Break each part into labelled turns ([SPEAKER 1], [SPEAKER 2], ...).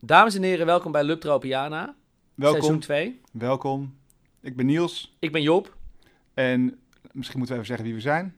[SPEAKER 1] Dames en heren, welkom bij Lub Tropiana, seizoen
[SPEAKER 2] Welkom,
[SPEAKER 1] 2.
[SPEAKER 2] welkom. Ik ben Niels
[SPEAKER 1] Ik ben Job.
[SPEAKER 2] en misschien moeten we even zeggen wie we zijn.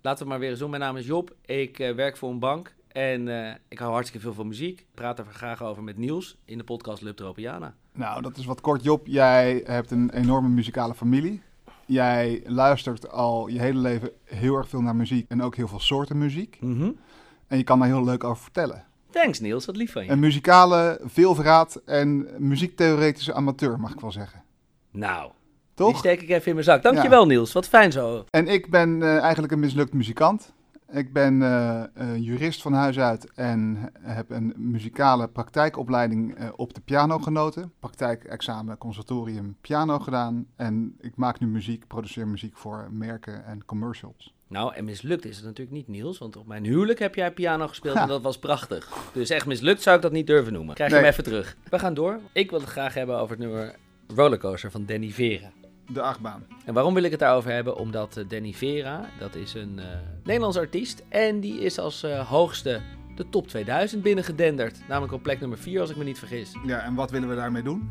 [SPEAKER 1] Laten we maar weer eens doen. Mijn naam is Job. Ik eh, werk voor een bank en eh, ik hou hartstikke veel van muziek. Ik praat er graag over met Niels in de podcast Lub Tropiana.
[SPEAKER 2] Nou, dat is wat kort Job. Jij hebt een enorme muzikale familie. Jij luistert al je hele leven heel erg veel naar muziek en ook heel veel soorten muziek. En je kan daar heel leuk over vertellen.
[SPEAKER 1] Thanks Niels, wat lief van je.
[SPEAKER 2] Een muzikale veelverraad en muziektheoretische amateur, mag ik wel zeggen.
[SPEAKER 1] nou, die
[SPEAKER 2] Toch?
[SPEAKER 1] steek ik even in mijn zak. Dankjewel Niels, wat fijn zo.
[SPEAKER 2] En ik ben eh, eigenlijk een mislukt muzikant. Ik ben eh, eh, jurist van huis uit en heb een muzikale praktijkopleiding eh, op de piano genoten. Praktijkexamen, conservatorium, piano gedaan. En ik maak nu muziek, produceer muziek voor merken en commercials.
[SPEAKER 1] Nou, en mislukt is het natuurlijk niet Niels, want op mijn huwelijk heb jij piano gespeeld
[SPEAKER 2] Ha.
[SPEAKER 1] en dat was prachtig. Dus echt mislukt zou ik dat niet durven noemen. Krijg
[SPEAKER 2] Nee.
[SPEAKER 1] hem even terug. We gaan door. Ik wil het graag hebben over het nummer Rollercoaster van Danny Vera.
[SPEAKER 2] De achtbaan.
[SPEAKER 1] En waarom wil ik het daarover hebben? Omdat eh, Danny Vera, dat is een eh, Nederlands artiest. En die is als eh, hoogste de top 2000 binnengedenderd. Namelijk op plek nummer 4, als ik me niet vergis.
[SPEAKER 2] Ja, en wat willen we daarmee doen?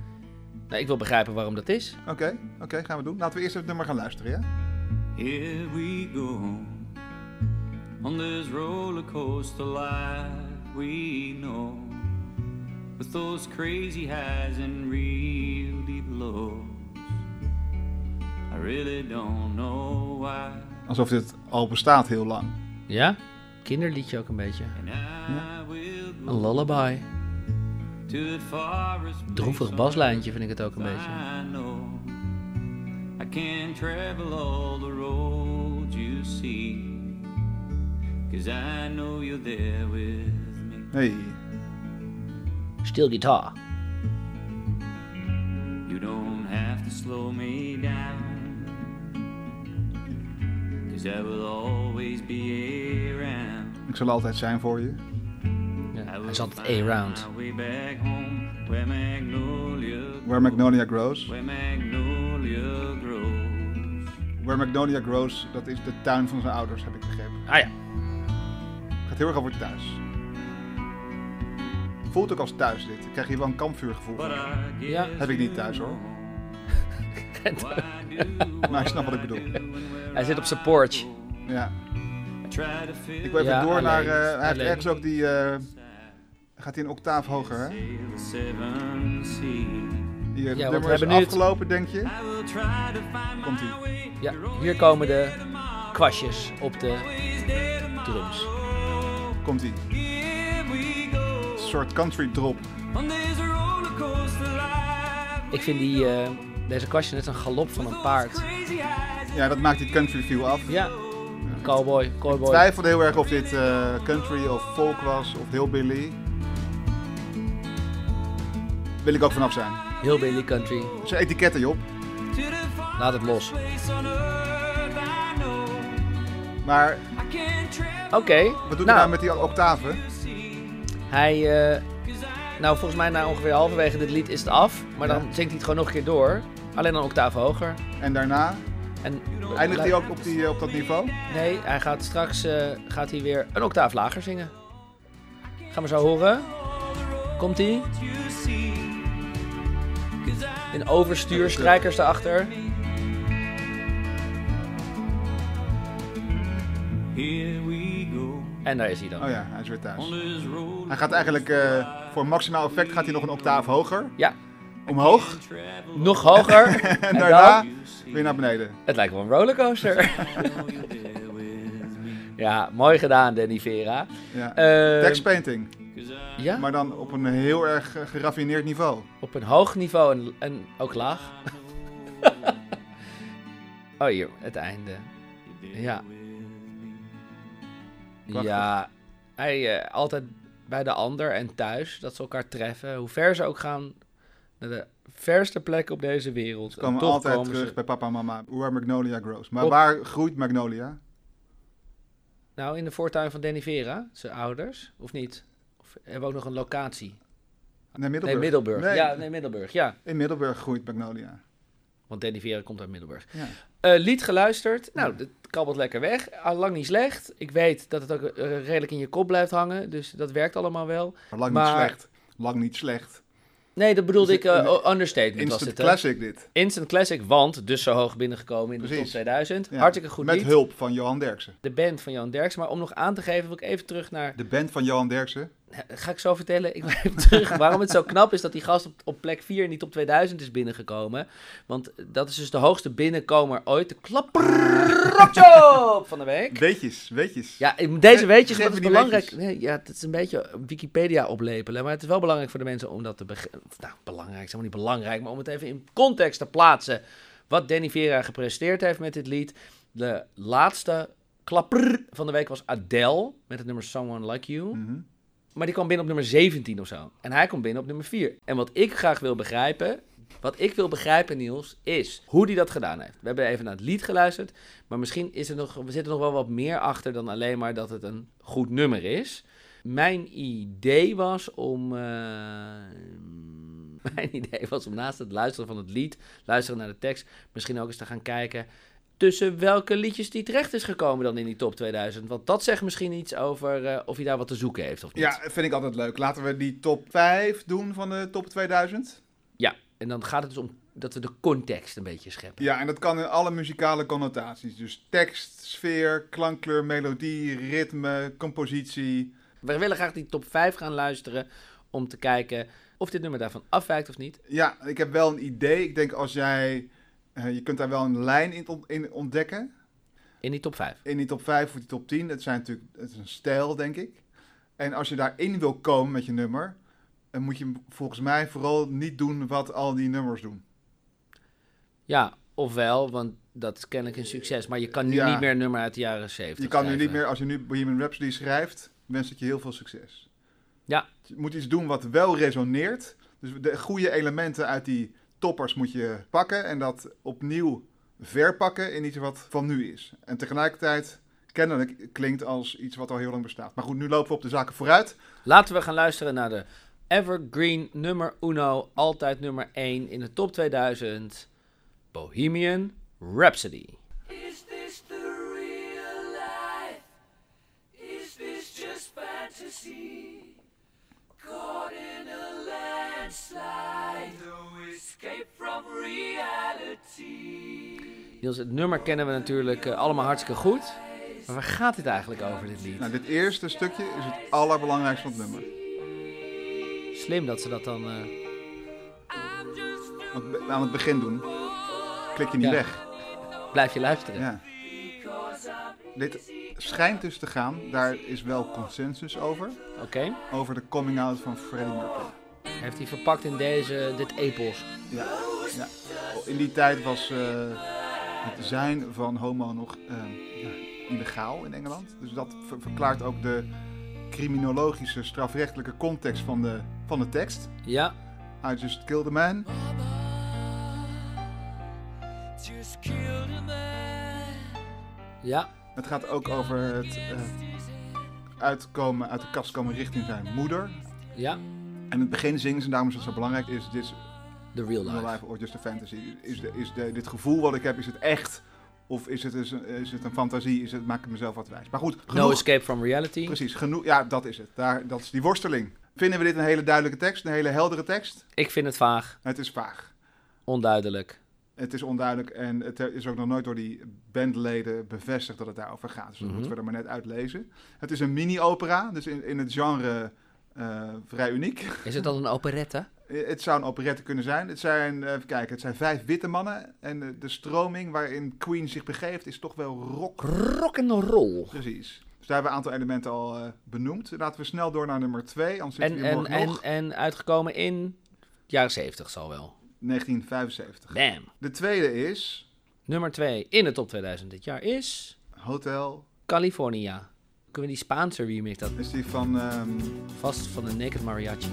[SPEAKER 1] Nou, ik wil begrijpen waarom dat is.
[SPEAKER 2] Oké, oké, gaan we doen. Laten we eerst even het nummer gaan luisteren, ja?
[SPEAKER 3] Here we go on this roller coaster life we know with those crazy highs and real deep lows. I really don't know why.
[SPEAKER 2] Alsof dit al bestaat heel lang.
[SPEAKER 1] Ja? Kinderliedje ook een beetje.
[SPEAKER 3] And I will
[SPEAKER 1] Een
[SPEAKER 3] go
[SPEAKER 1] lullaby.
[SPEAKER 3] to the forest. place
[SPEAKER 1] Droevig
[SPEAKER 3] on
[SPEAKER 1] baslijntje vind ik het ook een beetje.
[SPEAKER 3] I know I can travel all the roads you see. Cause I know you're there with me.
[SPEAKER 2] Hey.
[SPEAKER 1] Stil gitaar.
[SPEAKER 3] You don't have to slow me down. Cause I will always be around.
[SPEAKER 2] Ik zal altijd zijn voor je.
[SPEAKER 1] Ja,
[SPEAKER 3] I
[SPEAKER 1] hij
[SPEAKER 3] will
[SPEAKER 1] zat het
[SPEAKER 3] find
[SPEAKER 1] A-round.
[SPEAKER 3] my way back home where magnolia,
[SPEAKER 2] Where Magnolia Grows.
[SPEAKER 3] where magnolia grows.
[SPEAKER 2] Where Magnolia Grows, dat is de tuin van zijn ouders, heb ik begrepen.
[SPEAKER 1] Ah ja.
[SPEAKER 2] gaat heel erg over thuis. Voelt ook als thuis dit. Ik krijg hier wel een kampvuurgevoel
[SPEAKER 3] But
[SPEAKER 2] van.
[SPEAKER 3] I guess
[SPEAKER 1] Ja.
[SPEAKER 2] Heb ik niet thuis hoor. Maar je snapt wat ik bedoel.
[SPEAKER 1] Hij zit op zijn porch.
[SPEAKER 2] Ja.
[SPEAKER 3] Try to feel
[SPEAKER 2] Ik wil even
[SPEAKER 1] Ja,
[SPEAKER 2] door naar...
[SPEAKER 1] alleen.
[SPEAKER 2] eh, hij heeft
[SPEAKER 1] Alleen.
[SPEAKER 2] ergens ook die... eh, gaat hij een octaaf hoger hè?
[SPEAKER 3] the seven seas.
[SPEAKER 2] Hier, het
[SPEAKER 1] want we
[SPEAKER 2] nummer is
[SPEAKER 1] hebben nu het-
[SPEAKER 2] afgelopen denk je.
[SPEAKER 3] I will try to find
[SPEAKER 2] Komt ie.
[SPEAKER 3] my way.
[SPEAKER 1] Ja, hier komen de kwastjes op de
[SPEAKER 3] Always there tomorrow.
[SPEAKER 1] drums.
[SPEAKER 2] Komt hij.
[SPEAKER 3] Here we
[SPEAKER 2] Een
[SPEAKER 3] go
[SPEAKER 2] soort country drop.
[SPEAKER 3] on this roller coaster life.
[SPEAKER 1] Ik vind die, eh, deze kwastje net een galop van een paard.
[SPEAKER 3] Crazy eyes
[SPEAKER 2] Ja, dat maakt die country feel af.
[SPEAKER 1] Ja, cowboy,
[SPEAKER 2] Ik
[SPEAKER 1] cowboy.
[SPEAKER 2] twijfelde heel erg of dit eh, country of folk was of hillbilly. Wil ik ook vanaf zijn.
[SPEAKER 1] Heel Billy Country.
[SPEAKER 2] Zijn etiketten Job.
[SPEAKER 3] to the far
[SPEAKER 1] Laat het los.
[SPEAKER 3] place on earth I know.
[SPEAKER 2] Maar
[SPEAKER 3] I can travel
[SPEAKER 1] Oké.
[SPEAKER 2] wat doet hij nou
[SPEAKER 1] nou,
[SPEAKER 2] met die octaven?
[SPEAKER 3] the sea.
[SPEAKER 1] hij. eh, nou, volgens mij, na ongeveer halverwege dit lied is het af. Maar dan
[SPEAKER 2] Ja.
[SPEAKER 1] zingt hij het gewoon nog een keer door. Alleen dan octaaf hoger.
[SPEAKER 2] En daarna
[SPEAKER 1] En
[SPEAKER 2] eindigt hij ook op, die, eh, op dat niveau?
[SPEAKER 1] Nee, hij gaat straks eh, gaat hij weer een octaaf lager zingen. Gaan we zo horen. Komt ie?
[SPEAKER 3] You see. 'Cause I
[SPEAKER 1] In overstuur, strijkers daarachter.
[SPEAKER 3] Here we go
[SPEAKER 1] En daar is hij dan.
[SPEAKER 2] Oh ja, hij is weer thuis.
[SPEAKER 3] on this roller
[SPEAKER 2] Hij gaat eigenlijk eh, voor maximaal effect gaat hij nog een octaaf hoger,
[SPEAKER 1] Ja,
[SPEAKER 2] omhoog
[SPEAKER 3] travel.
[SPEAKER 1] nog hoger. en,
[SPEAKER 2] en
[SPEAKER 1] dan-
[SPEAKER 2] daarna
[SPEAKER 1] Ah.
[SPEAKER 2] weer naar beneden.
[SPEAKER 1] Het lijkt wel een rollercoaster.
[SPEAKER 3] You're there with me.
[SPEAKER 1] ja, mooi gedaan, Danny Vera.
[SPEAKER 2] Ja.
[SPEAKER 1] Eh,
[SPEAKER 2] Textpainting,
[SPEAKER 1] ja,
[SPEAKER 2] maar dan op een heel erg eh, geraffineerd niveau.
[SPEAKER 1] op een hoog niveau en, en ook laag. oh, hier, het einde. Ja.
[SPEAKER 2] Prachtig.
[SPEAKER 1] Ja, hij, eh, altijd bij de ander en thuis, dat ze elkaar treffen. Hoe ver ze ook gaan, naar de verste plek op deze wereld.
[SPEAKER 2] Ze komen
[SPEAKER 1] en toch
[SPEAKER 2] altijd
[SPEAKER 1] komen
[SPEAKER 2] terug
[SPEAKER 1] ze-
[SPEAKER 2] bij papa en mama, where Magnolia grows. Maar
[SPEAKER 1] Op-
[SPEAKER 2] waar groeit Magnolia?
[SPEAKER 1] Nou, in de voortuin van Danny Vera, zijn ouders, of niet? Of hebben we ook nog een locatie?
[SPEAKER 2] Nee, Middelburg.
[SPEAKER 1] Nee, Middelburg.
[SPEAKER 2] Nee,
[SPEAKER 1] Ja, nee, Middelburg, ja.
[SPEAKER 2] In Middelburg groeit Magnolia.
[SPEAKER 1] Want Danny Vera komt uit Middelburg.
[SPEAKER 2] Ja.
[SPEAKER 1] Eh, lied geluisterd. Nou, het kabbelt lekker weg. Al lang niet slecht. Ik weet dat het ook eh, redelijk in je kop blijft hangen. Dus dat werkt allemaal wel.
[SPEAKER 2] Maar lang
[SPEAKER 1] Maar-
[SPEAKER 2] niet slecht. lang niet slecht.
[SPEAKER 1] Nee, dat bedoelde
[SPEAKER 2] Dus
[SPEAKER 1] ik, eh,
[SPEAKER 2] een-
[SPEAKER 1] oh, understatement was
[SPEAKER 2] Instant
[SPEAKER 1] dit. hè?
[SPEAKER 2] classic dit.
[SPEAKER 1] Instant Classic, want dus zo hoog binnengekomen in de
[SPEAKER 2] Precies.
[SPEAKER 1] top 2000.
[SPEAKER 2] Ja.
[SPEAKER 1] Hartstikke goed
[SPEAKER 2] Met
[SPEAKER 1] lied.
[SPEAKER 2] hulp van Johan Derksen.
[SPEAKER 1] De band van Jan Derks. Maar om nog aan te geven, wil ik even terug naar...
[SPEAKER 2] De band van Johan Derksen.
[SPEAKER 1] Ga ik zo vertellen? Ik wil even terug. Waarom het zo knap is dat die gast op, op plek 4 in die top 2000 is binnengekomen. Want dat is dus de hoogste binnenkomer ooit. De klapperrotjoop van de week.
[SPEAKER 2] Weetjes, weetjes.
[SPEAKER 1] Ja, in deze
[SPEAKER 2] Ge-
[SPEAKER 1] weetjes,
[SPEAKER 2] geef
[SPEAKER 1] dat
[SPEAKER 2] me
[SPEAKER 1] is
[SPEAKER 2] die
[SPEAKER 1] belangrijk.
[SPEAKER 2] weetjes.
[SPEAKER 1] Nee, ja, het is een beetje Wikipedia oplepelen, maar het is wel belangrijk voor de mensen om dat te begrijpen. Nou, belangrijk is helemaal niet belangrijk, maar om het even in context te plaatsen. Wat Danny Vera gepresteerd heeft met dit lied. De laatste klapper van de week was Adele met het nummer Someone Like You.
[SPEAKER 2] Mhm.
[SPEAKER 1] Maar die kwam binnen op nummer 17 of zo. En hij kwam binnen op nummer 4. En wat ik graag wil begrijpen. Wat ik wil begrijpen, Niels, is hoe hij dat gedaan heeft. We hebben even naar het lied geluisterd. Maar misschien is er nog, we zitten nog wel wat meer achter dan alleen maar dat het een goed nummer is. Mijn idee was om. eh, mijn idee was om naast het luisteren van het lied, luisteren naar de tekst, misschien ook eens te gaan kijken tussen welke liedjes die terecht is gekomen dan in die top 2000. Want dat zegt misschien iets over eh, of hij daar wat te zoeken heeft of niet.
[SPEAKER 2] Ja, vind ik altijd leuk. Laten we die top 5 doen van de top 2000.
[SPEAKER 1] Ja, en dan gaat het dus om dat we de context een beetje scheppen.
[SPEAKER 2] Ja, en dat kan in alle muzikale connotaties. Dus tekst, sfeer, klankkleur, melodie, ritme, compositie.
[SPEAKER 1] We willen graag die top 5 gaan luisteren om te kijken of dit nummer daarvan afwijkt of niet.
[SPEAKER 2] Ja, ik heb wel een idee. Ik denk als jij... eh, je kunt daar wel een lijn in, ont- in ontdekken.
[SPEAKER 1] In die top 5.
[SPEAKER 2] In die top 5 of die top 10. Het, zijn natuurlijk, het is een stijl, denk ik. En als je daarin wil komen met je nummer... dan moet je volgens mij vooral niet doen wat al die nummers doen.
[SPEAKER 1] Ja, ofwel, want dat is kennelijk een succes. Maar je kan nu
[SPEAKER 2] Ja.
[SPEAKER 1] niet meer een nummer uit de jaren 70
[SPEAKER 2] Je kan nu niet
[SPEAKER 1] schrijven.
[SPEAKER 2] meer, als je nu Bohemian Rhapsody schrijft, wens ik je heel veel succes.
[SPEAKER 1] Ja.
[SPEAKER 2] Je moet iets doen wat wel resoneert. Dus de goede elementen uit die toppers moet je pakken en dat opnieuw verpakken in iets wat van nu is. En tegelijkertijd kennelijk klinkt als iets wat al heel lang bestaat. Maar goed, nu lopen we op de zaken vooruit.
[SPEAKER 1] Laten we gaan luisteren naar de Evergreen nummer uno, altijd nummer 1 in de top 2000. Bohemian Rhapsody.
[SPEAKER 4] Is this the real life? Is this just fantasy? Caught in a landslide, no escape from reality.
[SPEAKER 1] Niels, het nummer kennen we natuurlijk eh, allemaal hartstikke goed. Maar waar gaat dit eigenlijk over, dit lied?
[SPEAKER 2] Nou, dit eerste stukje is het allerbelangrijkste van het nummer.
[SPEAKER 1] Slim dat ze dat dan... eh,
[SPEAKER 4] I'm just a
[SPEAKER 2] Want we aan het begin doen, klik je niet
[SPEAKER 1] Ja.
[SPEAKER 2] weg.
[SPEAKER 1] Blijf je luisteren.
[SPEAKER 2] Ja. Dit schijnt dus te gaan, daar is wel consensus over.
[SPEAKER 1] Oké.
[SPEAKER 2] over de coming out van Freddie Mercury.
[SPEAKER 1] Heeft hij verpakt in deze, dit epos.
[SPEAKER 2] Ja, ja. In die tijd was eh, het zijn van homo nog eh, ja, illegaal in Engeland. Dus dat ver- verklaart ook de criminologische, strafrechtelijke context van de, van de tekst.
[SPEAKER 1] Ja,
[SPEAKER 2] I just killed a man.
[SPEAKER 4] mama, just killed a man.
[SPEAKER 1] ja.
[SPEAKER 2] Het gaat ook over het eh, uitkomen, uit de kast komen richting zijn moeder.
[SPEAKER 1] Ja,
[SPEAKER 2] En in het begin zingen ze, daarom is dat zo belangrijk, is dit
[SPEAKER 1] de real life.
[SPEAKER 2] real life or just a fantasy? Is, de, is de, dit gevoel wat ik heb, is het echt? Of is het, is, is het een fantasie? Is het, maak ik mezelf wat wijs? Maar goed,
[SPEAKER 1] No
[SPEAKER 2] genoeg.
[SPEAKER 1] escape from reality.
[SPEAKER 2] precies, genoeg. Ja, dat is het. Daar, dat is die worsteling. Vinden we dit een hele duidelijke tekst? Een hele heldere tekst?
[SPEAKER 1] Ik vind het vaag,
[SPEAKER 2] Het is vaag.
[SPEAKER 1] onduidelijk.
[SPEAKER 2] Het is onduidelijk en het is ook nog nooit door die bandleden bevestigd dat het daarover gaat. Dus dat
[SPEAKER 1] Mhm.
[SPEAKER 2] moeten we er maar net uitlezen. Het is een mini-opera, dus in, in het genre eh, vrij uniek.
[SPEAKER 1] Is het dan een operette?
[SPEAKER 2] Het zou een operette kunnen zijn. Het zijn, eh, even kijken, het zijn vijf witte mannen. En eh, de stroming waarin Queen zich begeeft is toch wel rock.
[SPEAKER 1] Rock and roll.
[SPEAKER 2] Precies. Dus daar hebben we een aantal elementen al eh, benoemd. Laten we snel door naar nummer twee. Anders
[SPEAKER 1] En,
[SPEAKER 2] zitten we hier
[SPEAKER 1] en,
[SPEAKER 2] morgen
[SPEAKER 1] en,
[SPEAKER 2] nog.
[SPEAKER 1] en uitgekomen in jaren 70 zal wel.
[SPEAKER 2] 1975.
[SPEAKER 1] Bam.
[SPEAKER 2] De tweede is
[SPEAKER 1] Nummer 2 in de top 2000 dit jaar is
[SPEAKER 2] Hotel.
[SPEAKER 1] California. Kunnen we die Spaanse remix dat
[SPEAKER 2] Is die van, ehm,
[SPEAKER 1] vast van de Naked Mariachi?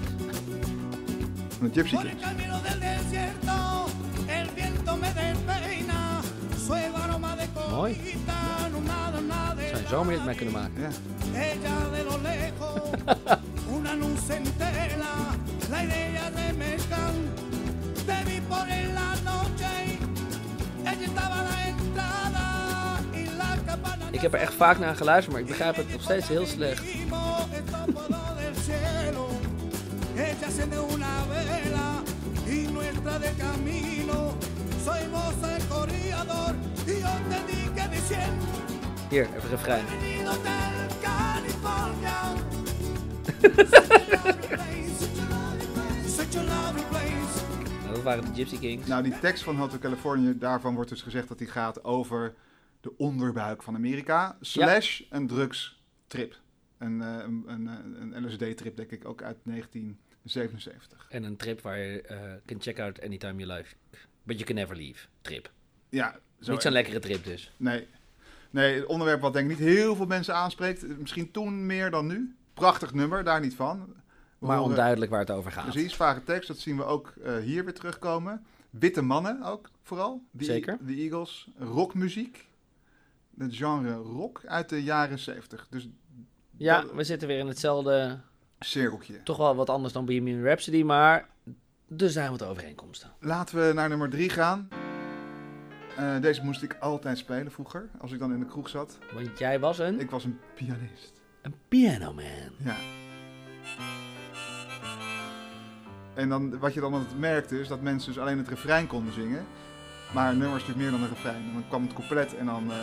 [SPEAKER 2] van de Gypsy
[SPEAKER 5] Por el
[SPEAKER 2] Kings.
[SPEAKER 5] camino del desierto, el viento me despeina. Sueva aroma de
[SPEAKER 1] Mooi.
[SPEAKER 5] coquita, no nada, nada.
[SPEAKER 1] Zou je zomaar dit mee kunnen maken?
[SPEAKER 2] Ja.
[SPEAKER 5] Ella de lo lejos, una luz en tela, la idea de mezcal. Te vi por en la noche, ella estaba a la entrada y la campana.
[SPEAKER 1] Ik heb er echt vaak naar geluisterd, maar ik begrijp het nog steeds heel slecht.
[SPEAKER 5] Dijimos, "Esto es todo del cielo". Ella enciende una vela y nuestra de camino. Soy vos el corredor y yo te dije diciendo,
[SPEAKER 1] Hier, even een refrein.
[SPEAKER 5] bienvenido del California. Such a lovely place.
[SPEAKER 1] Nou, dat waren de Gypsy Kings.
[SPEAKER 2] Nou, die tekst van Hotel California, daarvan wordt dus gezegd dat die gaat over de onderbuik van Amerika. Slash een drugstrip. Een, eh, een, een, een LSD-trip, denk ik, ook uit 1977.
[SPEAKER 1] En een trip waar je eh can check out anytime you like. But you can never leave. Trip.
[SPEAKER 2] Ja, zo
[SPEAKER 1] Niet zo'n lekkere trip dus.
[SPEAKER 2] Nee. nee, het onderwerp wat denk ik niet heel veel mensen aanspreekt. Misschien toen meer dan nu. Prachtig nummer, daar niet van. We
[SPEAKER 1] Maar
[SPEAKER 2] horen-
[SPEAKER 1] onduidelijk waar het over gaat.
[SPEAKER 2] eh, Precies, Dus vage tekst, dat zien we ook eh, hier weer terugkomen. Witte mannen ook, vooral. Die,
[SPEAKER 1] Zeker.
[SPEAKER 2] De Eagles. Rockmuziek. Het genre rock uit de jaren 70. Dus
[SPEAKER 1] Ja,
[SPEAKER 2] Dat-
[SPEAKER 1] we zitten weer in hetzelfde.
[SPEAKER 2] cirkeltje.
[SPEAKER 1] Toch wel wat anders dan Bohemian Rhapsody, maar er zijn wat overeenkomsten.
[SPEAKER 2] Laten we naar nummer 3 gaan. Eh, deze moest ik altijd spelen vroeger, als ik dan in de kroeg zat.
[SPEAKER 1] Want jij was een,
[SPEAKER 2] Ik was een pianist.
[SPEAKER 1] een pianoman.
[SPEAKER 2] Ja. En dan, wat je dan altijd merkte, is dat mensen dus alleen het refrein konden zingen. Maar een nummer is natuurlijk meer dan een refrein. En dan kwam het couplet en dan eh,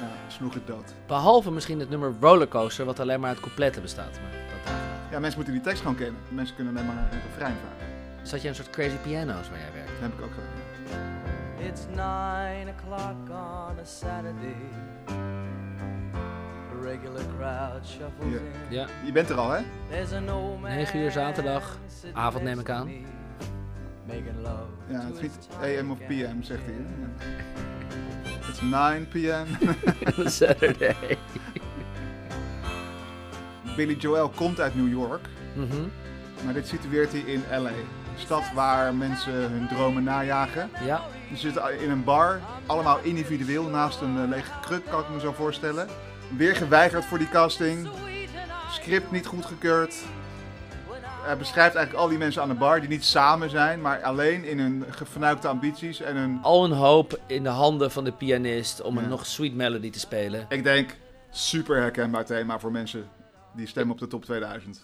[SPEAKER 2] ja, sloeg het dood.
[SPEAKER 1] Behalve misschien het nummer Rollercoaster, wat alleen maar uit coupletten bestaat. Maar dat... eh,
[SPEAKER 2] Ja, mensen moeten die tekst gewoon kennen. Mensen kunnen alleen maar een refrein vragen.
[SPEAKER 1] Zat jij een soort crazy piano's waar jij werkt?
[SPEAKER 2] Dat heb ik ook gedaan.
[SPEAKER 4] It's nine o'clock on a Saturday. The regular crowd shuffles
[SPEAKER 2] Ja.
[SPEAKER 4] in.
[SPEAKER 1] Ja.
[SPEAKER 2] Je bent er al, hè?
[SPEAKER 4] There's an old man
[SPEAKER 1] 9 uur zaterdag,
[SPEAKER 4] sitting
[SPEAKER 1] avond
[SPEAKER 4] next
[SPEAKER 1] neem
[SPEAKER 4] to
[SPEAKER 1] ik aan.
[SPEAKER 4] me, Making love
[SPEAKER 2] Ja,
[SPEAKER 4] to
[SPEAKER 2] het
[SPEAKER 4] his
[SPEAKER 2] schiet
[SPEAKER 4] tonic
[SPEAKER 2] AM of
[SPEAKER 4] and
[SPEAKER 2] PM, zegt hij. It's 9 PM.
[SPEAKER 1] Saturday.
[SPEAKER 2] Billy Joel komt uit New York.
[SPEAKER 1] Mhm.
[SPEAKER 2] Maar dit situeert hij in LA. Een stad waar mensen hun dromen najagen.
[SPEAKER 1] Ja,
[SPEAKER 2] Ze zitten in een bar, allemaal individueel naast een eh, lege kruk, kan ik me zo voorstellen. Weer geweigerd voor die casting. Script niet goedgekeurd. Hij beschrijft eigenlijk al die mensen aan de bar die niet samen zijn, maar alleen in hun gefnuikte ambities en hun.
[SPEAKER 1] al een hoop in de handen van de pianist om
[SPEAKER 2] Ja.
[SPEAKER 1] een nog sweet melody te spelen.
[SPEAKER 2] Ik denk, super herkenbaar thema voor mensen die stemmen op de top 2000.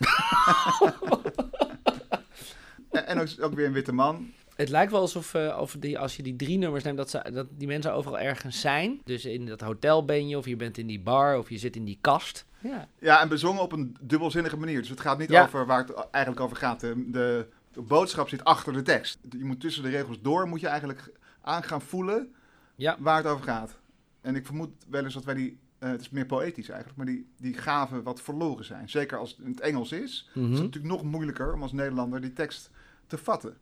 [SPEAKER 2] en en ook, ook weer een witte man.
[SPEAKER 1] Het lijkt wel alsof eh, of die, als je die drie nummers neemt, dat, ze, dat die mensen overal ergens zijn. Dus in dat hotel ben je, of je bent in die bar, of je zit in die kast. Ja.
[SPEAKER 2] Ja, en bezongen op een dubbelzinnige manier. Dus het gaat niet
[SPEAKER 1] Ja.
[SPEAKER 2] over waar het eigenlijk over gaat. De, de, de boodschap zit achter de tekst. Je moet tussen de regels door, moet je eigenlijk aan gaan voelen
[SPEAKER 1] Ja.
[SPEAKER 2] waar het over gaat. En ik vermoed wel eens dat wij die, eh, het is meer poëtisch eigenlijk, maar die, die gaven wat verloren zijn. Zeker als het in het Engels is, is
[SPEAKER 1] Mhm.
[SPEAKER 2] het natuurlijk nog moeilijker om als Nederlander die tekst te vatten.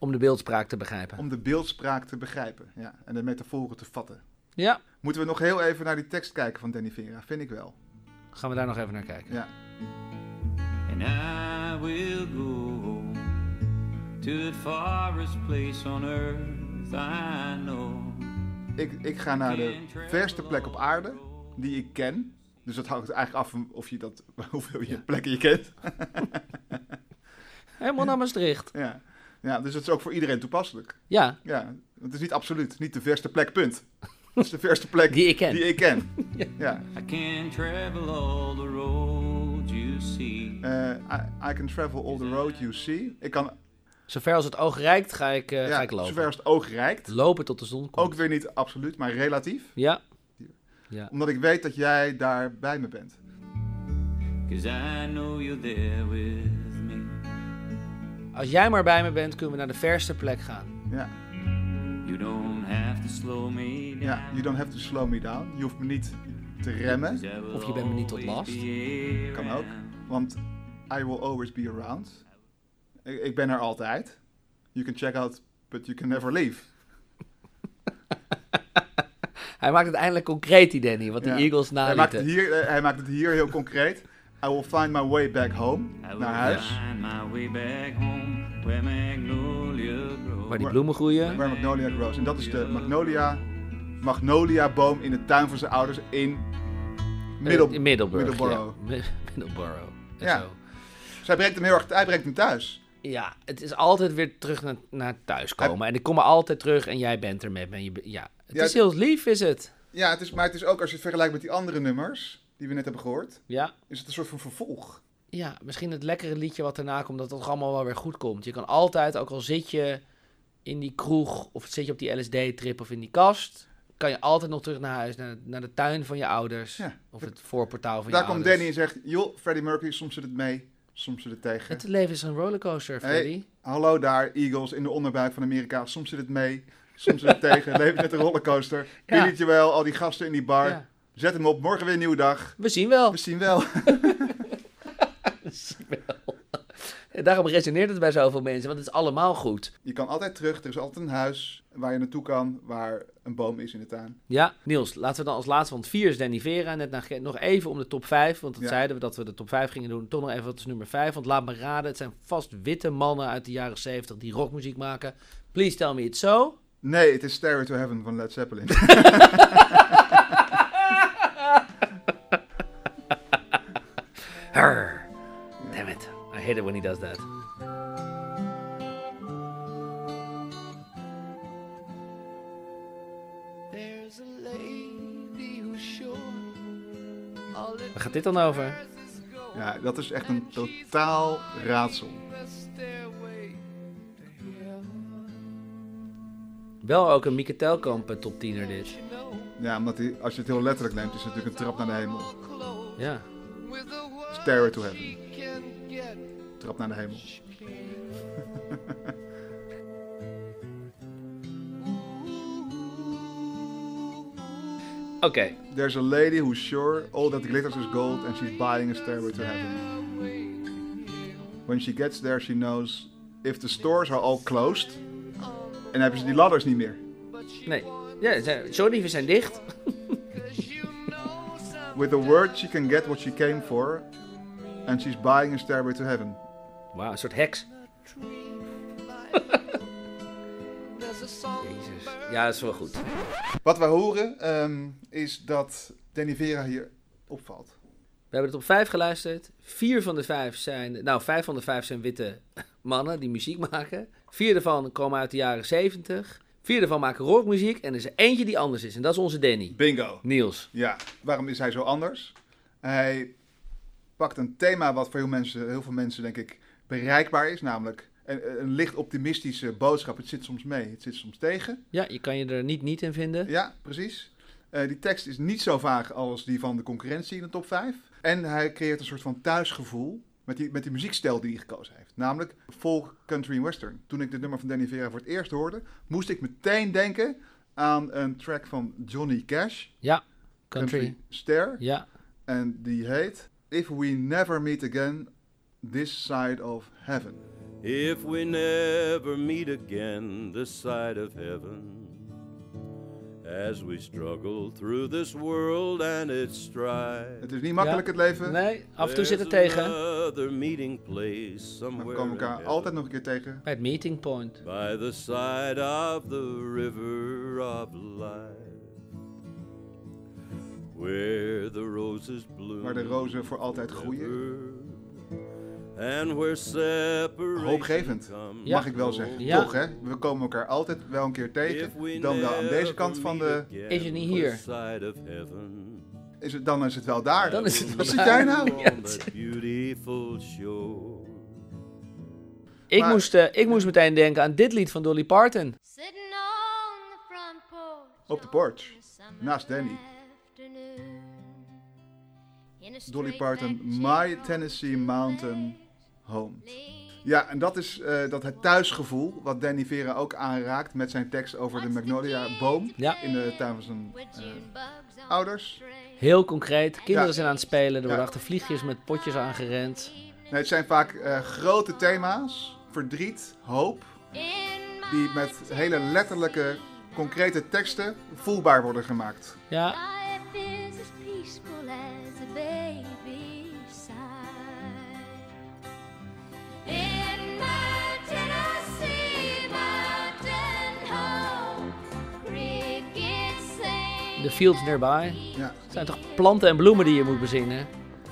[SPEAKER 1] Om de beeldspraak te begrijpen.
[SPEAKER 2] Om de beeldspraak te begrijpen ja, en de metaforen te vatten.
[SPEAKER 1] Ja,
[SPEAKER 2] Moeten we nog heel even naar die tekst kijken van Danny Vera, vind ik wel.
[SPEAKER 1] gaan we daar nog even naar kijken.
[SPEAKER 2] Ja.
[SPEAKER 3] And I will go home to the farthest place on earth I know.
[SPEAKER 2] Ik, ik ga naar de verste plek op aarde die ik ken. Dus dat hangt eigenlijk af van of je dat, hoeveel je plekken je kent.
[SPEAKER 1] Helemaal naar Maastricht.
[SPEAKER 2] Ja. ja, dus het is ook voor iedereen toepasselijk.
[SPEAKER 1] Ja,
[SPEAKER 2] Ja, want het is niet absoluut, niet de verste plek, punt. Het is de verste plek
[SPEAKER 1] Die ik ken.
[SPEAKER 2] Die ik ken. ja.
[SPEAKER 3] I can travel all the roads you see.
[SPEAKER 2] Eh, I, I can travel all the road you see. Ik kan
[SPEAKER 1] zover als het oog reikt ga ik, eh, ga
[SPEAKER 2] ja,
[SPEAKER 1] ik lopen.
[SPEAKER 2] zover als het oog reikt.
[SPEAKER 1] Lopen tot de zon komt.
[SPEAKER 2] Ook weer niet absoluut, maar relatief.
[SPEAKER 1] Ja,
[SPEAKER 2] Omdat ik weet dat jij daar bij me bent.
[SPEAKER 3] Cause I know you're there with me.
[SPEAKER 1] als jij maar bij me bent, kunnen we naar de verste plek gaan.
[SPEAKER 2] Ja.
[SPEAKER 3] You don't have to slow me down.
[SPEAKER 2] ja, you don't have to slow me down. Je hoeft me niet te remmen.
[SPEAKER 3] 'Cause I will
[SPEAKER 1] Of je bent me niet tot
[SPEAKER 3] always
[SPEAKER 1] last.
[SPEAKER 3] be
[SPEAKER 2] Kan ook.
[SPEAKER 3] around.
[SPEAKER 2] Want I will always be around. Ik, ik ben er altijd. You can check out, but you can never leave.
[SPEAKER 1] Hij maakt het eindelijk concreet, die Danny, wat die
[SPEAKER 2] Ja.
[SPEAKER 1] Eagles
[SPEAKER 2] hij, maakt
[SPEAKER 1] nalieten.
[SPEAKER 2] het hier, eh, hij maakt het hier heel concreet. I will find my way back home.
[SPEAKER 3] I will
[SPEAKER 2] Naar huis.
[SPEAKER 3] find my way back home where magnolia grows.
[SPEAKER 1] Waar die bloemen groeien.
[SPEAKER 2] Where Magnolia grows. En dat is de Magnolia, magnolia boom in de tuin van zijn ouders in Middel,
[SPEAKER 1] Eh, in Middelburg.
[SPEAKER 2] Middelborough.
[SPEAKER 1] Ja. Mi- Middelborough. En
[SPEAKER 2] Ja.
[SPEAKER 1] zo.
[SPEAKER 2] Zij brengt hem heel erg, hij brengt hem thuis.
[SPEAKER 1] ja, het is altijd weer terug naar, naar thuiskomen. En ik kom er altijd terug en jij bent er met me. En je be- Ja, het
[SPEAKER 2] Ja,
[SPEAKER 1] is heel lief, is het?
[SPEAKER 2] Ja, het is, maar het is ook als je het vergelijkt met die andere nummers die we net hebben gehoord,
[SPEAKER 1] Ja,
[SPEAKER 2] is het een soort van vervolg.
[SPEAKER 1] ja, misschien het lekkere liedje wat daarna komt, dat het toch allemaal wel weer goed komt. Je kan altijd, ook al zit je in die kroeg of zit je op die LSD-trip of in die kast, kan je altijd nog terug naar huis, naar, naar de tuin van je ouders
[SPEAKER 2] Ja.
[SPEAKER 1] of het voorportaal van
[SPEAKER 2] Daar
[SPEAKER 1] je
[SPEAKER 2] komt
[SPEAKER 1] ouders.
[SPEAKER 2] Danny en zegt, joh, Freddie Mercury, soms zit het mee, soms zit het tegen.
[SPEAKER 1] Het leven is een rollercoaster,
[SPEAKER 2] Hey.
[SPEAKER 1] Freddy.
[SPEAKER 2] Hallo daar, Eagles in de onderbuik van Amerika, soms zit het mee, soms zit het tegen. Leven met een rollercoaster,
[SPEAKER 1] Ja.
[SPEAKER 2] Billy Joel, al die gasten in die bar.
[SPEAKER 1] Ja.
[SPEAKER 2] Zet hem op, morgen weer een nieuwe dag.
[SPEAKER 1] We zien wel.
[SPEAKER 2] We zien wel.
[SPEAKER 1] En daarom resoneert het bij zoveel mensen, want het is allemaal goed.
[SPEAKER 2] Je kan altijd terug, er is altijd een huis waar je naartoe kan, waar een boom is in de tuin.
[SPEAKER 1] Ja, Niels, laten we dan als laatste, want 4 is Danny Vera. Net na, nog even om de top 5, want dat
[SPEAKER 2] Ja.
[SPEAKER 1] zeiden we dat we de top 5 gingen doen. Toch nog even, wat is nummer 5? Want laat me raden, het zijn vast witte mannen uit de jaren 70 die rockmuziek maken. Please tell me it's so.
[SPEAKER 2] Nee, het is Stairway to Heaven van Led Zeppelin.
[SPEAKER 1] Her. Damn it, I hate it when he does that.
[SPEAKER 5] There's a lady who's sure all it
[SPEAKER 1] Waar gaat dit dan over?
[SPEAKER 5] matters is gold.
[SPEAKER 2] Ja, dat is echt een totaal raadsel.
[SPEAKER 5] The stairway to heaven.
[SPEAKER 1] Wel ook een Mieke Telkamp eh, top 10er dit.
[SPEAKER 5] She knows
[SPEAKER 2] Ja, omdat die, als je het heel letterlijk neemt, is het natuurlijk een trap naar de hemel.
[SPEAKER 5] all close
[SPEAKER 1] Ja.
[SPEAKER 5] with the world
[SPEAKER 2] Stairway to heaven.
[SPEAKER 5] she can get.
[SPEAKER 2] Trap naar de hemel.
[SPEAKER 5] She can. Ooh.
[SPEAKER 1] Oké,
[SPEAKER 2] There's a lady who's sure all that glitters is gold and she's buying a stairway to heaven. When she gets there, she knows if the stores are all closed. En dan hebben ze die ladders niet meer.
[SPEAKER 1] nee. Ja, ze- sorry, we zijn dicht.
[SPEAKER 2] With a word, she can get what she came for. And she's buying a stairway to heaven.
[SPEAKER 1] Wauw, een soort heks.
[SPEAKER 5] There's a song
[SPEAKER 1] Jezus. Ja, dat is wel goed.
[SPEAKER 2] Wat wij horen ehm, is dat Danny Vera hier opvalt.
[SPEAKER 1] We hebben het op vijf geluisterd. Vier van de vijf zijn... Nou, vijf van de vijf zijn witte mannen die muziek maken. Vier daarvan komen uit de jaren zeventig. Vier daarvan maken rockmuziek. En er is er eentje die anders is. En dat is onze Danny.
[SPEAKER 2] Bingo.
[SPEAKER 1] Niels.
[SPEAKER 2] Ja, waarom is hij zo anders? Hij pakt een thema wat voor heel, mensen, heel veel mensen, denk ik, bereikbaar is. Namelijk een, een licht optimistische boodschap. Het zit soms mee, het zit soms tegen.
[SPEAKER 1] Ja, je kan je er niet niet in vinden.
[SPEAKER 2] Ja, precies. Eh, die tekst is niet zo vaag als die van de concurrentie in de top 5. En hij creëert een soort van thuisgevoel met die, met die muziekstijl die hij gekozen heeft. Namelijk folk, country en western. Toen ik dit nummer van Danny Vera voor het eerst hoorde, moest ik meteen denken aan een track van Johnny Cash.
[SPEAKER 1] Ja, country.
[SPEAKER 2] Stair.
[SPEAKER 1] Ja.
[SPEAKER 2] En die heet If We Never Meet Again, This Side of Heaven.
[SPEAKER 6] If we never meet again this side of heaven, as we struggle through this world and its strife,
[SPEAKER 2] Het is niet makkelijk
[SPEAKER 1] Ja.
[SPEAKER 2] het leven.
[SPEAKER 1] Nee, af en toe zit het
[SPEAKER 6] there's
[SPEAKER 1] tegen.
[SPEAKER 6] Another meeting place somewhere
[SPEAKER 2] Maar we komen
[SPEAKER 6] in
[SPEAKER 2] elkaar
[SPEAKER 6] heaven,
[SPEAKER 2] altijd nog een keer tegen.
[SPEAKER 1] Bij het meeting point.
[SPEAKER 6] by the side of the river of life, where the roses bloom.
[SPEAKER 2] Waar de rozen voor altijd groeien.
[SPEAKER 6] And where separation
[SPEAKER 2] Hoopgevend,
[SPEAKER 6] comes
[SPEAKER 1] Ja.
[SPEAKER 2] Mag ik wel zeggen.
[SPEAKER 1] Ja.
[SPEAKER 2] Toch hè? We komen elkaar altijd wel een keer tegen. Dan wel aan deze kant van de...
[SPEAKER 1] Is het niet hier?
[SPEAKER 2] Is het, dan is het wel daar.
[SPEAKER 1] Dan is het wel
[SPEAKER 2] Wat zit
[SPEAKER 1] daar.
[SPEAKER 2] jij nou?
[SPEAKER 1] Ja. Ik,
[SPEAKER 2] Maar-
[SPEAKER 1] moest, eh, ik moest meteen denken aan dit lied van Dolly Parton.
[SPEAKER 7] Sitting on the front porch.
[SPEAKER 2] Op de porch,
[SPEAKER 7] on a summer
[SPEAKER 2] naast Danny.
[SPEAKER 7] afternoon. In a
[SPEAKER 2] Dolly
[SPEAKER 7] straight
[SPEAKER 2] Parton,
[SPEAKER 7] back chair
[SPEAKER 2] My
[SPEAKER 7] on
[SPEAKER 2] Tennessee
[SPEAKER 7] two
[SPEAKER 2] Mountain Home.
[SPEAKER 7] legs.
[SPEAKER 2] Ja, en dat is eh, dat het thuisgevoel wat Danny Vera ook aanraakt met zijn tekst over de Magnolia-boom
[SPEAKER 1] Ja.
[SPEAKER 2] in de tuin van zijn
[SPEAKER 7] With
[SPEAKER 2] eh,
[SPEAKER 7] June bugs on
[SPEAKER 2] ouders.
[SPEAKER 7] the train.
[SPEAKER 1] Heel concreet. Kinderen
[SPEAKER 2] Ja.
[SPEAKER 1] zijn aan het spelen. Er worden
[SPEAKER 2] Ja.
[SPEAKER 1] achter vliegjes met potjes aangerend.
[SPEAKER 2] Nee, het zijn vaak eh, grote thema's, verdriet, hoop,
[SPEAKER 7] In my
[SPEAKER 2] die met hele letterlijke, concrete teksten voelbaar worden gemaakt.
[SPEAKER 1] Ja,
[SPEAKER 7] life is as peaceful as a baby's sigh. In my Tennessee mountain home, crickets sing.
[SPEAKER 1] de fields nearby.
[SPEAKER 2] Ja,
[SPEAKER 1] Het zijn toch planten en bloemen die je moet bezinnen?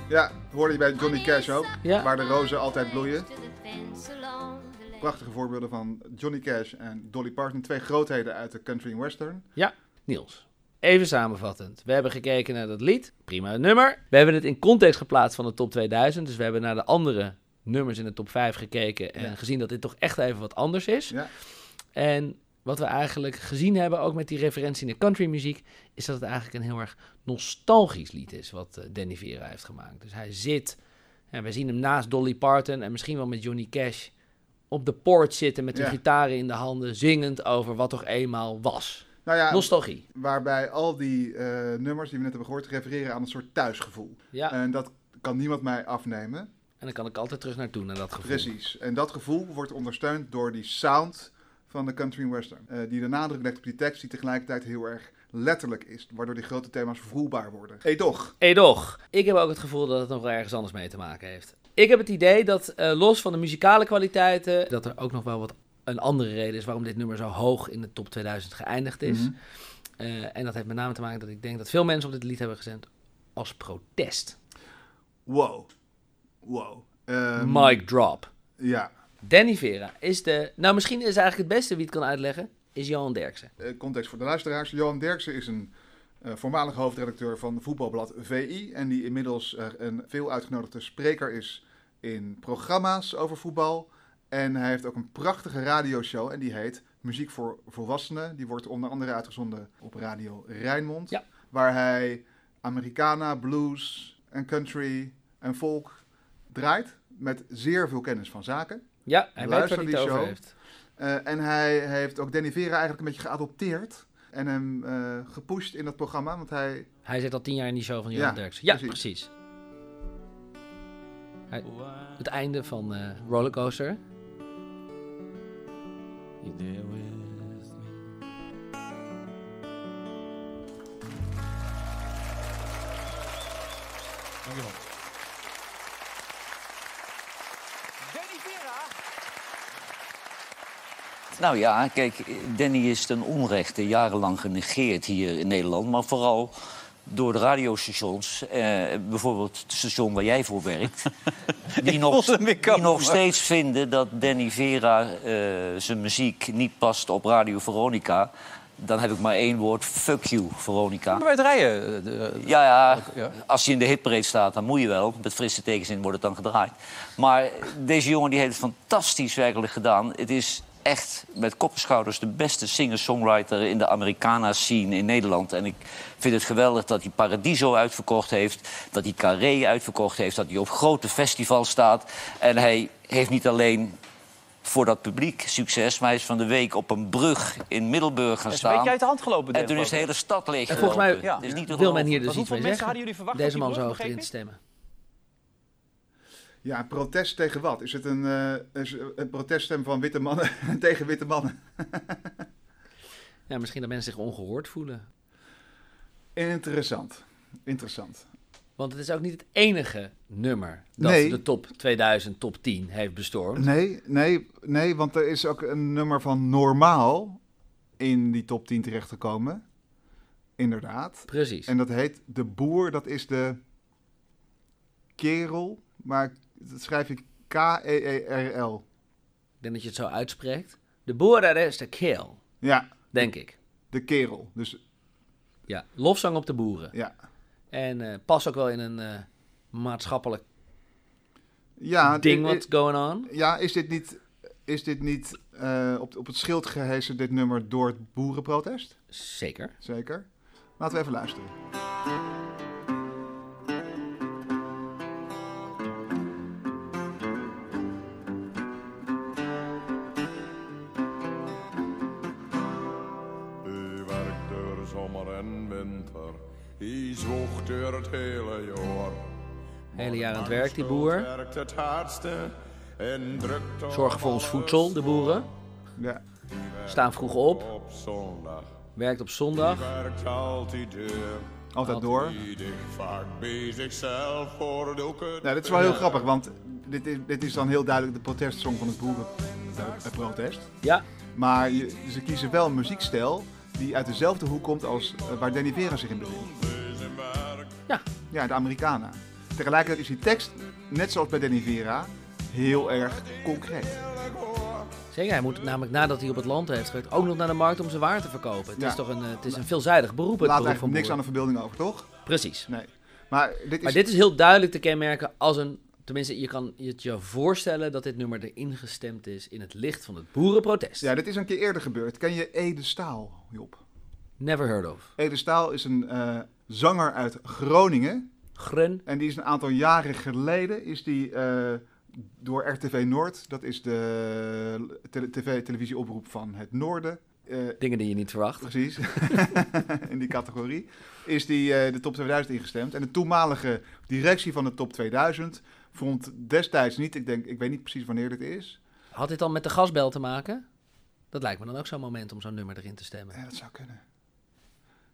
[SPEAKER 2] ja hoorde je bij Johnny Cash ook,
[SPEAKER 1] Ja.
[SPEAKER 2] waar de rozen altijd bloeien.
[SPEAKER 7] To the fence along the lake.
[SPEAKER 2] Prachtige voorbeelden van Johnny Cash en Dolly Parton, twee grootheden uit de country en western.
[SPEAKER 1] Ja, Niels. Even samenvattend. We hebben gekeken naar dat lied. Prima nummer. We hebben het in context geplaatst van de top 2000. Dus we hebben naar de andere nummers in de top 5 gekeken. En
[SPEAKER 2] Ja.
[SPEAKER 1] gezien dat dit toch echt even wat anders is.
[SPEAKER 2] Ja.
[SPEAKER 1] En wat we eigenlijk gezien hebben, ook met die referentie in de countrymuziek, is dat het eigenlijk een heel erg nostalgisch lied is wat eh, Danny Vera heeft gemaakt. Dus hij zit, en we zien hem naast Dolly Parton en misschien wel met Johnny Cash op de porch zitten met de
[SPEAKER 2] Ja.
[SPEAKER 1] gitaren in de handen, zingend over wat toch eenmaal was.
[SPEAKER 2] Nou ja,
[SPEAKER 1] Nostalgie.
[SPEAKER 2] waarbij al die eh, nummers die we net hebben gehoord refereren aan een soort thuisgevoel.
[SPEAKER 1] Ja,
[SPEAKER 2] En dat kan niemand mij afnemen.
[SPEAKER 1] en dan kan ik altijd terug naartoe naar dat gevoel.
[SPEAKER 2] Precies. En dat gevoel wordt ondersteund door die sound van de country en western. Eh, die de nadruk legt op die tekst die tegelijkertijd heel erg letterlijk is. Waardoor die grote thema's voelbaar worden. Hey toch?
[SPEAKER 1] Edoch, ik heb ook het gevoel dat het nog wel ergens anders mee te maken heeft. Ik heb het idee dat eh, los van de muzikale kwaliteiten, dat er ook nog wel wat een andere reden is waarom dit nummer zo hoog in de top 2000 geëindigd is.
[SPEAKER 2] Mhm.
[SPEAKER 1] Eh, en dat heeft met name te maken dat ik denk dat veel mensen op dit lied hebben gezend als protest.
[SPEAKER 2] Wow. Wow. Ehm,
[SPEAKER 1] Mic drop.
[SPEAKER 2] Ja.
[SPEAKER 1] Danny Vera is de, nou misschien is eigenlijk het beste wie het kan uitleggen, is Johan Derksen.
[SPEAKER 2] Eh, context voor de luisteraars. Johan Derksen is een eh, voormalig hoofdredacteur van voetbalblad VI. En die inmiddels eh, een veel uitgenodigde spreker is in programma's over voetbal. En hij heeft ook een prachtige radioshow en die heet Muziek voor Volwassenen. Die wordt onder andere uitgezonden op Radio Rijnmond.
[SPEAKER 1] Ja.
[SPEAKER 2] Waar hij Americana, blues en country en folk draait. Met zeer veel kennis van zaken.
[SPEAKER 1] Ja, hij weet
[SPEAKER 2] Luister
[SPEAKER 1] waar hij
[SPEAKER 2] die
[SPEAKER 1] het over
[SPEAKER 2] show.
[SPEAKER 1] heeft.
[SPEAKER 2] Eh, en hij heeft ook Danny Vera eigenlijk een beetje geadopteerd. En hem eh, gepusht in dat programma. Want hij.
[SPEAKER 1] Hij zit al tien jaar in die show van Johan
[SPEAKER 2] Ja,
[SPEAKER 1] Derksen. Ja, precies.
[SPEAKER 2] precies.
[SPEAKER 1] Hij- het einde van eh, Rollercoaster.
[SPEAKER 3] You there with me?
[SPEAKER 8] Nou ja, kijk, Danny is ten onrechte jarenlang genegeerd hier in Nederland. Maar vooral door de radiostations. Eh, bijvoorbeeld het station waar jij voor werkt. die, nog,
[SPEAKER 9] hem weer
[SPEAKER 8] die nog
[SPEAKER 9] komen.
[SPEAKER 8] steeds vinden dat Danny Vera eh, zijn muziek niet past op Radio Veronica. Dan heb ik maar één woord. Fuck you, Veronica.
[SPEAKER 9] Maar bij het rijden. eh, eh,
[SPEAKER 8] Ja, ja,
[SPEAKER 9] Ja.
[SPEAKER 8] als je in de hitparade staat, dan moet je wel. Met frisse tegenzin wordt het dan gedraaid. Maar deze jongen die heeft het fantastisch werkelijk gedaan. Het is echt met kop en schouders de beste singer-songwriter... in de Americana-scene in Nederland. En ik vind het geweldig dat hij Paradiso uitverkocht heeft... dat hij Carré uitverkocht heeft, dat hij op grote festivals staat. En hij heeft niet alleen voor dat publiek succes... maar hij is van de week op een brug in Middelburg gaan
[SPEAKER 9] is een
[SPEAKER 8] staan.
[SPEAKER 9] beetje uit de hand gelopen.
[SPEAKER 8] En
[SPEAKER 9] dit,
[SPEAKER 8] toen is de
[SPEAKER 9] geloof ik.
[SPEAKER 8] hele stad leeg.
[SPEAKER 1] En volgens mij
[SPEAKER 8] gelopen. Het is niet te
[SPEAKER 1] wil men
[SPEAKER 8] geloven.
[SPEAKER 1] hier dus
[SPEAKER 9] Want
[SPEAKER 1] iets
[SPEAKER 9] hoeveel
[SPEAKER 1] mee
[SPEAKER 9] mensen
[SPEAKER 1] zeggen.
[SPEAKER 9] hadden jullie verwacht
[SPEAKER 1] Deze
[SPEAKER 9] op die
[SPEAKER 1] man zou
[SPEAKER 9] brug,
[SPEAKER 1] achterin
[SPEAKER 9] begreep
[SPEAKER 1] stemmen.
[SPEAKER 2] Ja, een protest tegen wat? Is het een, eh, is een proteststem van witte mannen tegen witte mannen?
[SPEAKER 1] Ja, misschien dat mensen zich ongehoord voelen.
[SPEAKER 2] Interessant. Interessant.
[SPEAKER 1] Want het is ook niet het enige nummer dat
[SPEAKER 2] Nee.
[SPEAKER 1] de top 2000, top 10 heeft bestormd.
[SPEAKER 2] Nee, nee, nee, want er is ook een nummer van normaal in die top 10 terechtgekomen. Inderdaad.
[SPEAKER 1] Precies.
[SPEAKER 2] En dat heet De Boer, dat is de kerel, maar dat schrijf E je K-E-E-R-L.
[SPEAKER 1] Ik denk dat je het zo uitspreekt. De boer daar is de kill,
[SPEAKER 2] Ja,
[SPEAKER 1] denk ik.
[SPEAKER 2] de kerel. Dus
[SPEAKER 1] Ja, lofzang op de boeren.
[SPEAKER 2] ja.
[SPEAKER 1] En eh pas ook wel in een eh, maatschappelijk
[SPEAKER 2] Ja,
[SPEAKER 1] ding
[SPEAKER 2] i- i-
[SPEAKER 1] what's going on.
[SPEAKER 2] ja is dit niet, is dit niet eh, op, op het schild gehesen, dit nummer, door het boerenprotest?
[SPEAKER 1] Zeker.
[SPEAKER 2] Zeker. Laten we even luisteren.
[SPEAKER 10] Die werkt door zomer en winter, die zwoegt door het hele jaar.
[SPEAKER 1] Hele jaar aan het werk, die boer.
[SPEAKER 10] Werkt het hardste en drukt op
[SPEAKER 1] Zorgen voor ons
[SPEAKER 10] alles
[SPEAKER 1] voedsel, de boeren.
[SPEAKER 2] Ja.
[SPEAKER 1] Staan vroeg op.
[SPEAKER 10] Op zondag
[SPEAKER 1] Werkt op zondag.
[SPEAKER 10] werkt altijd deur,
[SPEAKER 2] Altijd door.
[SPEAKER 10] die zich vaak bezig zelf voor de doeken.
[SPEAKER 2] Nou, dit is wel heel grappig, want dit is, dit is dan heel duidelijk de protestsong van het boerenprotest.
[SPEAKER 1] Ja,
[SPEAKER 2] Maar je- ze kiezen wel een muziekstijl die uit dezelfde hoek komt als eh, waar Danny Vera zich in bevindt.
[SPEAKER 1] Ja.
[SPEAKER 2] Ja, de Americana. Tegelijkertijd is die tekst, net zoals bij Danny Vera, heel erg concreet.
[SPEAKER 1] Zeker, hij moet namelijk nadat hij op het land heeft gewerkt ook nog naar de markt om zijn waar te verkopen. Het
[SPEAKER 2] Ja.
[SPEAKER 1] is toch een, eh, het is een veelzijdig beroep, het
[SPEAKER 2] Laat
[SPEAKER 1] beroep van
[SPEAKER 2] eigenlijk niks aan
[SPEAKER 1] boer.
[SPEAKER 2] de verbeelding over, toch?
[SPEAKER 1] Precies.
[SPEAKER 2] Nee. Maar dit is,
[SPEAKER 1] Maar dit is heel duidelijk te kenmerken als een... Tenminste, je kan het je voorstellen dat dit nummer erin gestemd is in het licht van het boerenprotest.
[SPEAKER 2] Ja, dit is een keer eerder gebeurd. Ken je Ede Staal, Job?
[SPEAKER 1] Never heard of.
[SPEAKER 2] Ede Staal is een eh, zanger uit Groningen.
[SPEAKER 1] Grun.
[SPEAKER 2] En die is een aantal jaren geleden is die, eh, door RTV Noord, dat is de tele- tv, televisieoproep van het Noorden, eh,
[SPEAKER 1] Dingen die je niet verwacht.
[SPEAKER 2] Precies. in die categorie. Is die eh, de top 2000 ingestemd. En de toenmalige directie van de top 2000 vond destijds niet, ik denk, ik weet niet precies wanneer dit is.
[SPEAKER 1] Had dit dan met de gasbel te maken? Dat lijkt me dan ook zo'n moment om zo'n nummer erin te stemmen.
[SPEAKER 2] Ja, Eh, dat zou kunnen.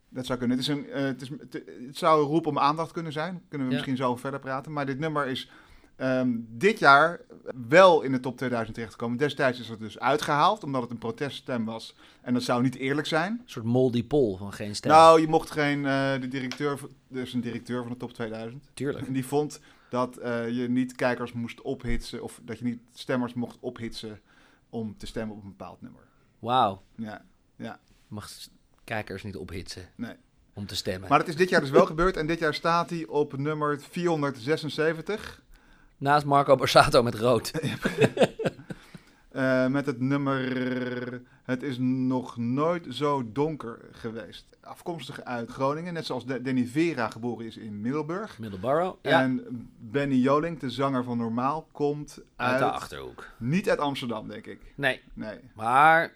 [SPEAKER 2] Dat zou kunnen. Het, is een, eh, het, is, het- het zou een roep om aandacht kunnen zijn. Kunnen we
[SPEAKER 1] Ja.
[SPEAKER 2] misschien zo verder praten. Maar dit nummer is ehm, dit jaar wel in de top 2000 terechtgekomen. Destijds is dat dus uitgehaald, omdat het een proteststem was. En dat zou niet eerlijk zijn.
[SPEAKER 1] Een soort moldy pol van geen stem.
[SPEAKER 2] Nou, je mocht geen. eh, de directeur, dus een directeur van de top 2000.
[SPEAKER 1] tuurlijk.
[SPEAKER 2] En die vond dat eh, je niet kijkers moest ophitsen. of dat je niet stemmers mocht ophitsen. om te stemmen op een bepaald nummer.
[SPEAKER 1] Wauw.
[SPEAKER 2] Ja.
[SPEAKER 1] Je mag s- kijkers niet ophitsen
[SPEAKER 2] Nee.
[SPEAKER 1] om te stemmen.
[SPEAKER 2] Maar dat is dit jaar dus wel gebeurd. en dit jaar staat hij op nummer 476.
[SPEAKER 1] Naast Marco Borsato met rood.
[SPEAKER 2] eh, met het nummer. Het is nog nooit zo donker geweest. Afkomstig uit Groningen. Net zoals De- Danny Vera geboren is in Middelburg.
[SPEAKER 1] Middelborough. Ja.
[SPEAKER 2] En Benny Jolink, de zanger van Normaal, komt
[SPEAKER 1] uit
[SPEAKER 2] uit,
[SPEAKER 1] de Achterhoek.
[SPEAKER 2] niet uit Amsterdam, denk ik.
[SPEAKER 1] Nee,
[SPEAKER 2] Nee.
[SPEAKER 1] maar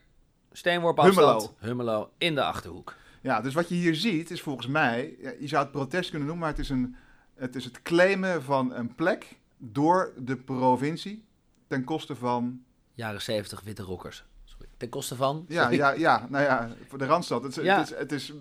[SPEAKER 1] steenworp afstand.
[SPEAKER 2] Hummelo.
[SPEAKER 1] Hummelo. in de Achterhoek.
[SPEAKER 2] Ja, dus wat je hier ziet is volgens mij, ja, je zou het protest kunnen noemen, maar het is, een, het is het claimen van een plek door de provincie ten koste van,
[SPEAKER 1] Jaren 70 witte rockers. Sorry. Ten koste van?
[SPEAKER 2] ja, ja, ja, nou ja, voor de Randstad. Het, is-
[SPEAKER 1] Ja.
[SPEAKER 2] het, is, het is,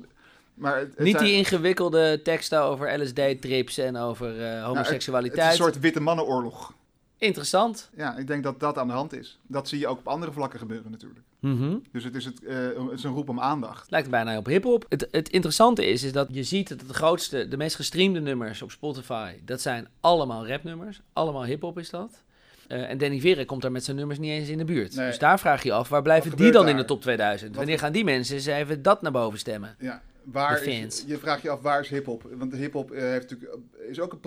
[SPEAKER 2] maar het, het
[SPEAKER 1] Niet
[SPEAKER 2] zijn-
[SPEAKER 1] die ingewikkelde teksten over LSD-trips en over eh,
[SPEAKER 2] nou, het-
[SPEAKER 1] homoseksualiteit.
[SPEAKER 2] Het is een soort witte mannenoorlog.
[SPEAKER 1] Interessant.
[SPEAKER 2] Ja, ik denk dat dat aan de hand is. Dat zie je ook op andere vlakken gebeuren natuurlijk.
[SPEAKER 1] Mhm.
[SPEAKER 2] Dus het is, het, eh, het is een roep om aandacht.
[SPEAKER 1] Lijkt bijna op hip-hop. Het, het interessante is, is dat je ziet dat de grootste, de meest gestreamde nummers op Spotify, dat zijn allemaal rapnummers. Allemaal hip-hop is dat. Eh, en Danny Vera komt daar met zijn nummers niet eens in de buurt.
[SPEAKER 2] Nee.
[SPEAKER 1] Dus daar vraag je je af, waar blijven
[SPEAKER 2] Wat
[SPEAKER 1] die dan
[SPEAKER 2] gebeurt
[SPEAKER 1] in de
[SPEAKER 2] daar?
[SPEAKER 1] top 2000?
[SPEAKER 2] Wat-
[SPEAKER 1] Wanneer gaan die mensen eens even dat naar boven stemmen?
[SPEAKER 2] Ja,
[SPEAKER 1] De
[SPEAKER 2] waar is,
[SPEAKER 1] fans.
[SPEAKER 2] je vraagt je af waar is hip-hop? Want hip-hop eh, heeft natuurlijk, is ook een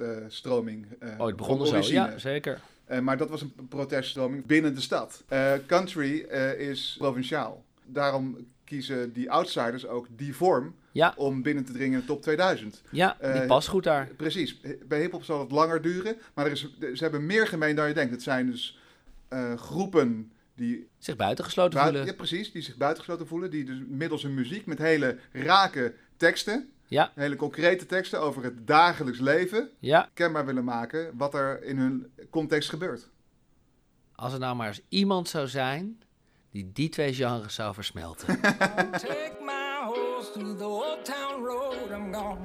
[SPEAKER 2] proteststroming. eh,
[SPEAKER 1] Ooit begonnen
[SPEAKER 2] van
[SPEAKER 1] zo.
[SPEAKER 2] origine.
[SPEAKER 1] Ja, zeker.
[SPEAKER 2] Eh, maar dat was een proteststroming binnen de stad. Eh, country eh, is provinciaal. Daarom kiezen die outsiders ook die vorm
[SPEAKER 1] Ja.
[SPEAKER 2] om binnen te dringen in de top 2000.
[SPEAKER 1] Ja, die
[SPEAKER 2] Eh,
[SPEAKER 1] past goed daar.
[SPEAKER 2] Precies, bij hip-hop zal het langer duren, maar er is, ze hebben meer gemeen dan je denkt. Het zijn dus eh, groepen die
[SPEAKER 1] Zich buitengesloten
[SPEAKER 2] Buiten-
[SPEAKER 1] voelen.
[SPEAKER 2] Ja, precies. Die zich buitengesloten voelen. Die dus middels hun muziek met hele rake teksten.
[SPEAKER 1] Ja.
[SPEAKER 2] Hele concrete teksten over het dagelijks leven.
[SPEAKER 1] Ja,
[SPEAKER 2] Kenbaar willen maken wat er in hun context gebeurt.
[SPEAKER 1] als er nou maar eens iemand zou zijn die die twee genres zou versmelten.
[SPEAKER 5] Take my horse to the old town road. I'm gonna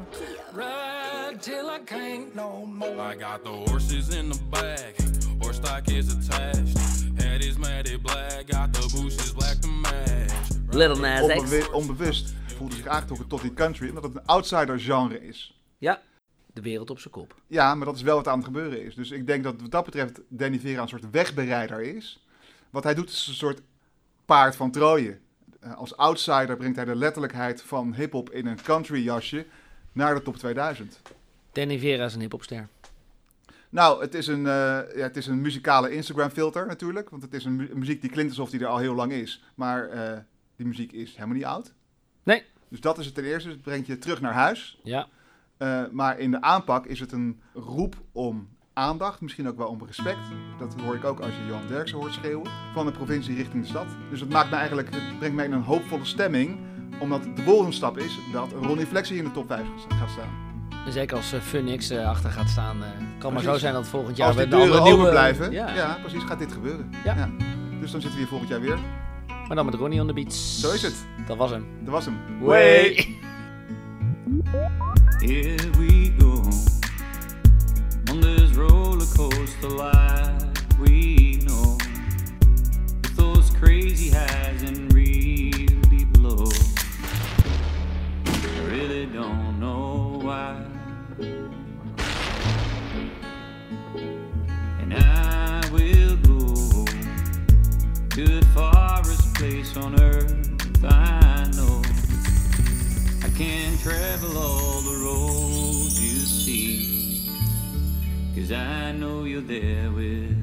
[SPEAKER 5] ride till I can't no more.
[SPEAKER 10] I got the horses in the back, horse stock is attached. Head is matted black, got the bushes black to match.
[SPEAKER 1] Little Nas X.
[SPEAKER 2] Onbewe- onbewust voelt zich aangetrokken tot die country. Omdat het een outsider genre is.
[SPEAKER 1] Ja, de wereld op zijn kop.
[SPEAKER 2] Ja, maar dat is wel wat aan het gebeuren is. Dus ik denk dat wat dat betreft Danny Vera een soort wegbereider is. Wat hij doet is een soort paard van Troje. Eh, Als outsider brengt hij de letterlijkheid van hip-hop in een country jasje naar de top 2000.
[SPEAKER 1] Danny Vera is een hiphopster.
[SPEAKER 2] Nou, het is een, eh, ja, het is een muzikale Instagram-filter natuurlijk. Want het is een mu- muziek die klinkt alsof die er al heel lang is. Maar eh, die muziek is helemaal niet oud.
[SPEAKER 1] Nee.
[SPEAKER 2] Dus dat is het ten eerste. Het brengt je terug naar huis.
[SPEAKER 1] Ja,
[SPEAKER 2] Eh, maar in de aanpak is het een roep om aandacht. Misschien ook wel om respect. Dat hoor ik ook als je Johan Derksen hoort schreeuwen. Van de provincie richting de stad. Dus het, maakt me eigenlijk, het brengt mij in een hoopvolle stemming. Omdat de volgende stap is dat Ronnie Flexie in de top 5 gaat staan.
[SPEAKER 1] en zeker als eh, Funix eh, achter gaat staan. eh, kan maar zo
[SPEAKER 2] Precies.
[SPEAKER 1] zijn dat volgend jaar
[SPEAKER 2] Als
[SPEAKER 1] we
[SPEAKER 2] die
[SPEAKER 1] een
[SPEAKER 2] deuren
[SPEAKER 1] andere
[SPEAKER 2] open
[SPEAKER 1] nieuwe-
[SPEAKER 2] blijven, ja.
[SPEAKER 1] Ja.
[SPEAKER 2] precies, gaat dit gebeuren.
[SPEAKER 1] Ja.
[SPEAKER 2] Dus dan zitten we hier volgend jaar weer.
[SPEAKER 1] Maar dan met Ronnie on the beats.
[SPEAKER 2] Zo is het.
[SPEAKER 1] Dat was hem.
[SPEAKER 2] Dat was hem.
[SPEAKER 1] Wait.
[SPEAKER 3] Here we go on this roller coaster life we know. With those crazy highs and really lows. We really don't know why. And I will go to
[SPEAKER 6] place on earth I know. I can travel all the roads you see, cause I know you're there with